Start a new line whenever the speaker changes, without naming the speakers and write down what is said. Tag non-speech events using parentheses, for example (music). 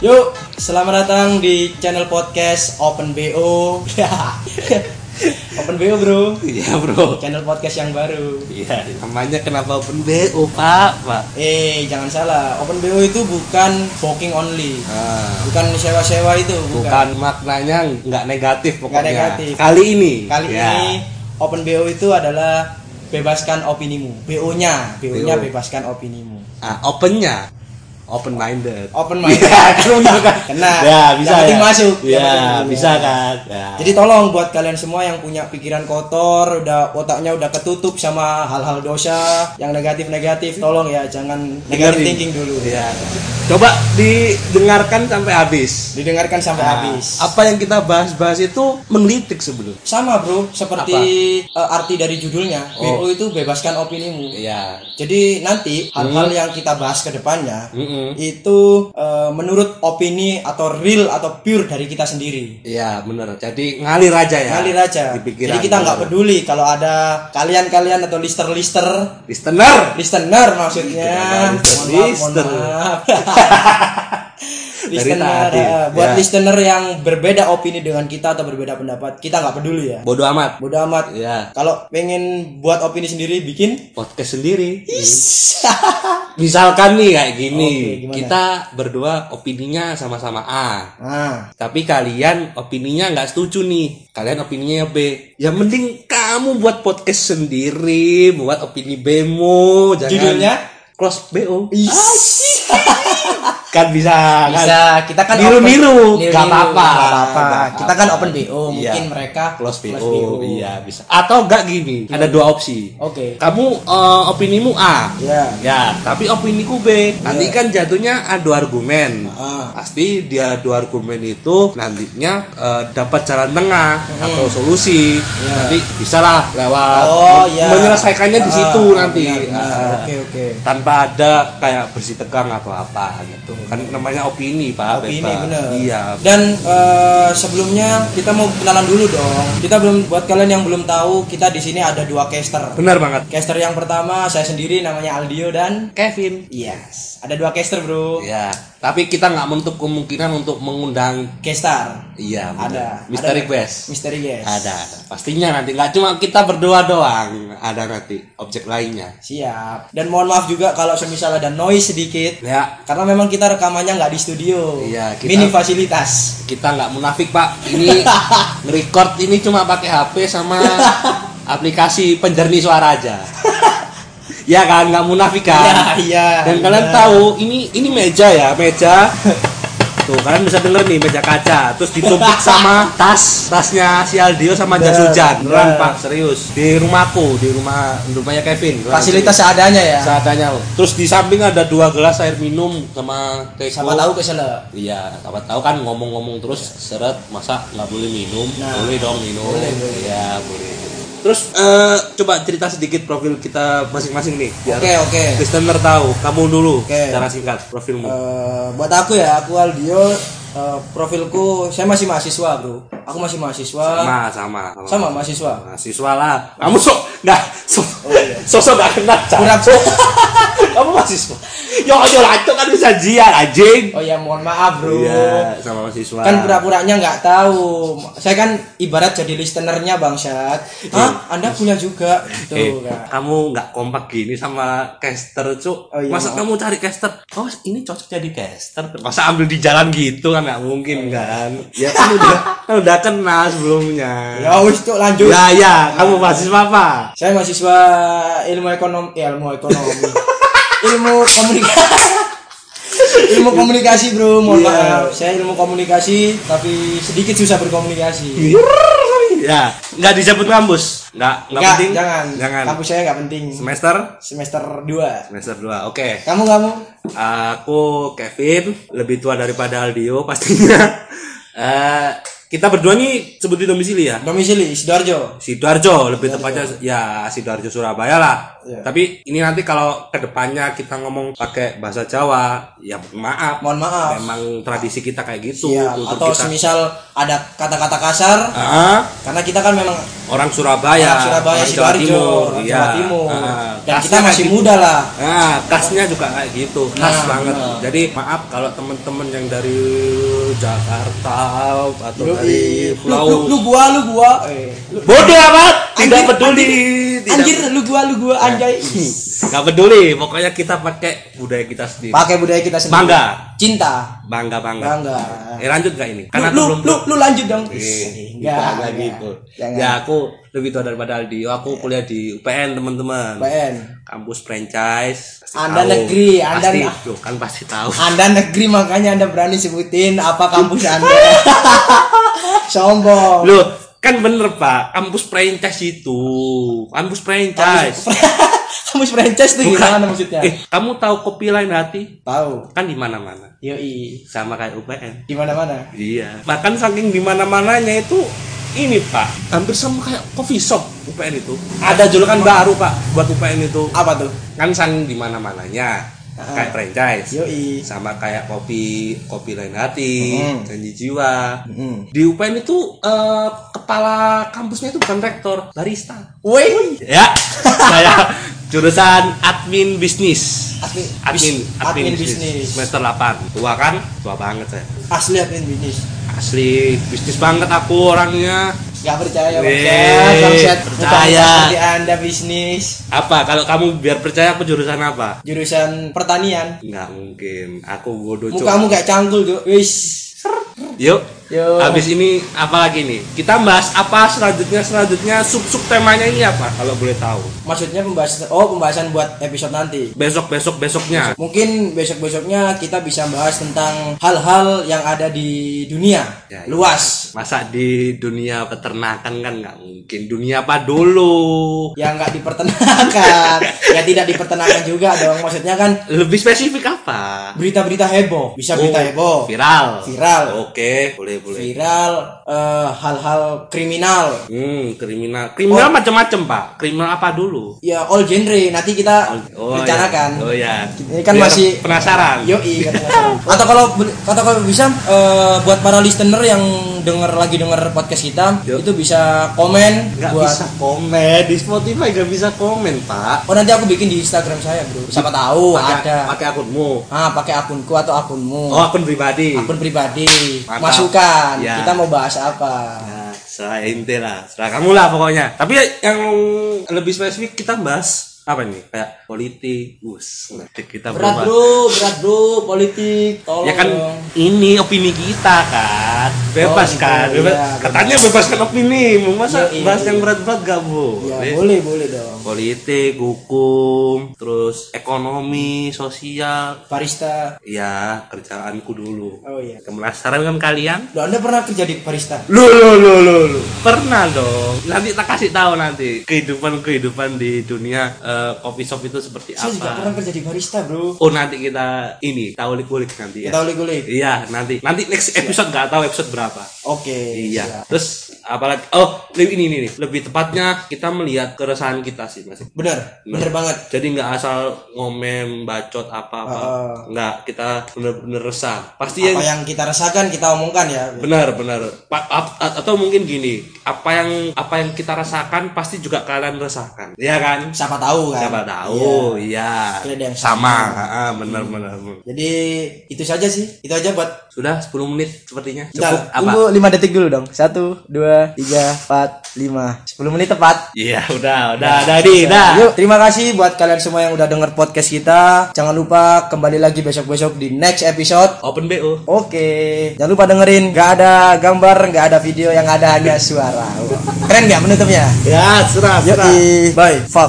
Yuk, selamat datang di channel podcast Open BO. (laughs) Open BO, Bro.
Iya bro.
Channel podcast yang baru.
Iya. Namanya kenapa open BO pak pak?
Eh, jangan salah. Open BO itu bukan booking only.
Nah,
Bukan sewa-sewa itu,
bukan maknanya nggak negatif pokoknya.
negatif.
Kali ini.
Kali
Ya.
ini Open BO itu adalah bebaskan opinimu. BO-nya, BO-nya
BO.
bebaskan opinimu.
(laughs) Ah, opennya Iya, open minded.
Open
(laughs)
mind. Kena.
Ya bisa
Yang
ya.
penting masuk. Yang
Ya
penting masuk.
bisa kan. Ya.
Jadi tolong buat kalian semua yang punya pikiran kotor, udah otaknya udah ketutup sama hal-hal dosa yang negatif-negatif, tolong ya jangan
Dengerin.
negatif thinking dulu.
Iya. Coba didengarkan sampai habis.
Didengarkan sampai
Nah,
habis.
Apa yang kita bahas-bahas itu menelitik sebelum.
Sama bro, seperti eh, arti dari judulnya,
Oh.
BO itu bebaskan opinimu.
Iya.
Jadi nanti hal-hal
Hmm.
yang kita bahas ke depannya
Mm-mm.
itu eh, menurut opini atau real atau pure dari kita sendiri.
Iya benar. Jadi ngalir aja ya.
Ngalir aja.
Di pikiran,
Jadi kita nggak
bener.
peduli kalau ada kalian-kalian atau lister-lister
Listener.
listener maksudnya
Listener.
Mohon maaf, mohon
Listener. (laughs)
maaf. listener
tadi.
eh, buat
Ya.
listener yang berbeda opini dengan kita atau berbeda pendapat kita nggak peduli ya
Bodoh amat.
bodo amat
Iya.
kalau pengen buat opini sendiri bikin
Podcast sendiri. (laughs) Misalkan nih kayak gini,
Oke, gimana?
kita berdua opininya sama-sama A,
nah
tapi kalian opininya nggak setuju nih. Kalian opininya B. Ya mending kamu buat podcast sendiri, buat opini Bmu, jangan
Judulnya?
Cross BO.
Is.
Kan bisa, kan?
bisa kita kan
Niru-niru,
open-
nggak
niru-niru,
apa-apa.
nggak apa-apa.
Nggak
kita kan
apa-apa.
open bo mungkin
Iya.
mereka
Close BO,
BO.
iya bisa. Atau enggak gini, ada dua opsi.
oke
Kamu eh, opinimu A,
ya
Ya, tapi opiniku B. Nanti kan jatuhnya adu argumen.
Iya. Ah.
Pasti dia adu argumen itu nantinya eh, dapat jalan tengah
Hmm.
atau solusi. Nanti bisalah lewat
Iya. oh
men-
ya
menyelesaikannya di
Ah,
situ nanti.
benar, benar.
Ah.
oke oke
tanpa ada kayak bersih tegang atau apa gitu. Kan namanya opini, Pak.
Opini
bebas.
bener.
Iya.
Dan eh, sebelumnya kita mau kenalan dulu dong. Kita belum buat kalian yang belum tahu kita di sini ada dua caster.
Benar banget.
Caster yang pertama saya sendiri namanya Aldio dan
Kevin.
yes ada dua caster bro.
Iya, tapi kita nggak menutup kemungkinan untuk mengundang
Caster
Iya,
ada.
benar. Misteri
Ada-
Quest.
Misteri guest.
Ada, ada. Pastinya nanti nggak cuma kita berdua doang, ada nanti objek lainnya.
Siap. Dan mohon maaf juga kalau semisal ada noise sedikit.
Ya,
Karena memang kita rekamannya nggak di studio.
Iya, kita-
Mini fasilitas.
kita nggak munafik Pak. Ini record ini cuma pakai HP sama aplikasi penjernih suara aja. (laughs) ya kan, nggak munafik kan?
(laughs) Iya, iya,
Dan kalian
benar.
tahu ini ini meja ya, meja. Tuh, kalian bisa denger nih meja kaca, terus ditumpuk sama tas, tasnya si Aldio sama jas
Benar,
hujan.
benar.
Beneran, Pak, serius. Di rumahku, di rumah rumahnya Kevin. Beneran,
Fasilitas seadanya ya.
seadanya loh. Terus di samping ada dua gelas air minum sama teh
Sama
tahu
tahu keselak.
iya sama tahu kan ngomong-ngomong terus seret masa nggak boleh minum
Nah.
boleh dong minum
Boleh, boleh.
iya boleh terus eh, coba cerita sedikit profil kita masing-masing nih biar
Oke, oke.
listener tahu kamu dulu
Oke.
secara singkat profilmu
Eh, buat aku ya, aku Aldio. eh, profilku, saya masih mahasiswa bro. Aku masih mahasiswa.
sama sama
Sama, mahasiswa.
mahasiswa lah kamu sok nggak sok
iya.
sosok nggak kenal
Kurang.
Cak. (laughs) kamu mahasiswa yo yo lanjut kan bisa jian anjing
Oh ya mohon maaf bro.
Iya, sama mahasiswa.
Kan pura-puranya nggak tahu. Saya kan ibarat jadi listenernya bang Syat. Hah? Anda punya juga?
Iya. Eh,
Tuh kan.
kamu nggak kompak gini sama caster cuk
Oh, iya,
masa
maaf.
kamu cari caster oh ini cocok jadi caster masa ambil di jalan gitu kan nggak mungkin kan (laughs) ya kan udah kan udah kenal sebelumnya
Ya wis tuh lanjut.
ya ya kamu mahasiswa apa
Saya mahasiswa ilmu ekonomi, eh, ilmu ekonomi, ilmu
(laughs)
komunikasi, ilmu komunikasi bro. Mohon
Iya.
maaf, saya ilmu komunikasi tapi sedikit susah berkomunikasi.
ya nggak disebut kampus nggak nggak
Nggak,
penting
jangan.
jangan
Kampus saya nggak penting.
semester
Semester 2
semester 2 oke
Kamu kamu?
Aku Kevin, lebih tua daripada Aldio pastinya. (laughs) Eh Kita berdua nih sebut di domisili ya.
Domisili Sidoarjo.
Sidoarjo lebih tepatnya ya Sidoarjo Surabaya lah.
Iya.
Tapi ini nanti kalau kedepannya kita ngomong pakai bahasa Jawa, ya maaf.
Mohon maaf.
Memang tradisi kita kayak gitu.
Iya,
kultur
atau
kita.
semisal ada kata-kata kasar
Ah,
karena kita kan memang
orang Surabaya,
orang Surabaya,
Iya, orang Jawa
Sidoarjo,
Timur,
orang
iya.
Jawa Timur.
Ah,
Dan
khasnya
kita
kayak
masih
gitu.
muda lah.
Nah, khasnya juga kayak gitu, khas
Nah,
banget.
benar.
Jadi maaf kalau temen-temen yang dari Jakarta atau
Lu,
dari
lu,
Pulau
lu, lu gua, lu gua. Eh, lu-
bodoh amat, tidak
Anjir,
peduli, tidak Ya.
Anjir, lu gua, lu gua
(laughs)
anjay.
nggak peduli. Pokoknya kita pakai budaya kita sendiri.
Pakai budaya kita sendiri.
Bangga.
Cinta.
Bangga bangga.
Bangga.
Eh lanjut gak ini? Karena
lu,
aku
lu,
belum
lu, lu lanjut dong.
Eh,
Enggak,
gitu, agak
enggak.
gitu.
Jangan. Iya.
Ya aku lebih tua daripada Aldi. Aku kuliah di UPN teman-teman.
PN.
Kampus franchise. Pasti
Iya. Anda
tahu.
negeri, Anda
pasti,
na-
Loh, kan pasti tahu.
Anda negeri makanya Anda berani sebutin apa kampus Anda. (laughs) Sombong. (laughs)
Loh, kan bener Pak, kampus franchise itu. Kampus franchise.
kampus franchise itu gimana maksudnya?
Eh, kamu tahu kopi lain hati?
Tahu.
Kan di mana-mana.
Yoi.
Sama kayak UPN.
Di mana-mana.
Iya. Bahkan saking di mana-mananya itu ini Pak, hampir sama kayak coffee shop UPN itu. Ada julukan baru Pak buat UPN itu.
Apa tuh?
kan sang di mana mananya
Ah.
kayak franchise
Yoi.
sama kayak kopi kopi lain hati
Mm.
janji jiwa
Mm.
di UPN itu eh, kepala kampusnya itu bukan rektor barista
Woi.
ya (laughs) saya jurusan admin bisnis
Admin-
admin
bis-
admin,
admin
bisnis.
bisnis.
semester 8 tua kan tua banget saya
Asli admin bisnis.
asli bisnis banget aku orangnya
Gak percaya Bang
Wih,
Syed. Bang Syed, bukan
percaya.
seperti Anda bisnis
apa kalau kamu biar percaya aku jurusan apa
jurusan pertanian.
nggak mungkin aku bodoh cowok.
Mukamu kayak cangkul, Cuk. Wis.
Yuk.
Yuk.
Habis ini apa lagi nih? Kita bahas apa selanjutnya selanjutnya sub-sub temanya ini apa kalau boleh tahu?
Maksudnya pembahasan oh pembahasan buat episode nanti.
Besok-besok besoknya.
Mungkin besok-besoknya kita bisa bahas tentang hal-hal yang ada di dunia
Ya, ya.
luas
Masa di dunia peternakan kan nggak mungkin. Dunia apa dulu?
yang nggak
(laughs)
dipertenakan, ya tidak dipertenakan juga dong. Maksudnya kan
Lebih spesifik apa?
berita-berita heboh, bisa berita
Oh,
heboh,
Viral.
Viral.
Oke, boleh boleh.
viral, eh, hal-hal kriminal,
Hmm, kriminal. Kriminal
Oh.
macam-macam, Pak. Kriminal apa dulu?
ya all genre. Nanti kita rencanakan.
ya. Oh ya.
Ini kan
Biar
masih-
penasaran.
Yo Atau kalau atau kalau bisa eh, buat para listener yang denger lagi denger podcast kita
Yo.
itu bisa komen
Nggak
buat
bisa komen di Spotify nggak bisa komen, Pak.
Oh nanti aku bikin di Instagram saya bro. Siapa tahu
pakai,
ada.
pakai akunmu
Ah pakai akunku atau akunmu.
oh akun pribadi
Akun pribadi.
Mantap.
Masukan.
Ya.
Kita mau bahas apa?
nah, serah ente lah serah kamu lah pokoknya tapi yang lebih spesifik kita bahas apa nih kayak politik bus kita berubah.
Berat bro, berat bro, politik. Tolong.
Iya. ya kan
dong.
ini opini kita kan bebas
Oh, gitu.
kan bebas.
Iya, bebas.
katanya bebaskan opini mau masa
Yoi.
bahas yang berat-berat gak bu
Ya iya. boleh boleh dong.
politik hukum terus ekonomi sosial
Barista.
ya kerjaanku dulu
Oh iya.
penasaran kan kalian
Loh, anda pernah kerja di barista?
Lu lu lu lu lu. Pernah dong. Nanti tak kasih tahu nanti kehidupan kehidupan di dunia eh, coffee shop itu seperti
Saya juga
apa.
pernah kerja di barista bro.
Oh nanti kita ini tahu likulik nanti ya.
Kita ulik-ulik.
Iya nanti nanti next episode nggak tahu episode berapa.
Oke. siap.
Iya. Terus apalagi oh lebih ini nih lebih tepatnya kita melihat keresahan kita sih mas.
Bener,
Iya.
bener banget.
Jadi nggak asal ngomen bacot apa apa.
Heeh.
Nggak kita bener-bener resah. Pasti yang
Apa yang kita rasakan kita omongkan ya.
benar benar Pa- ap- a- atau mungkin gini apa yang apa yang kita rasakan pasti juga kalian rasakan ya kan
Siapa tahu kan.
siapa tahu iya
Kalian ada yang
sama Ah, benar benar benar.
Jadi itu saja sih. Itu aja buat
sudah 10 menit sepertinya cukup
Bentar,
apa
tunggu 5 detik dulu dong. 1 2 3 4 5. 10 menit tepat.
iya udah udah udah di dah
Yuk, terima kasih buat kalian semua yang udah denger podcast kita. Jangan lupa kembali lagi besok-besok di next episode.
open bo
Oke, jangan lupa dengerin. Gak ada gambar, gak ada video, yang ada hanya suara. Wah. Keren gak menutupnya?
ya serah
Yuk, bye. Fuck.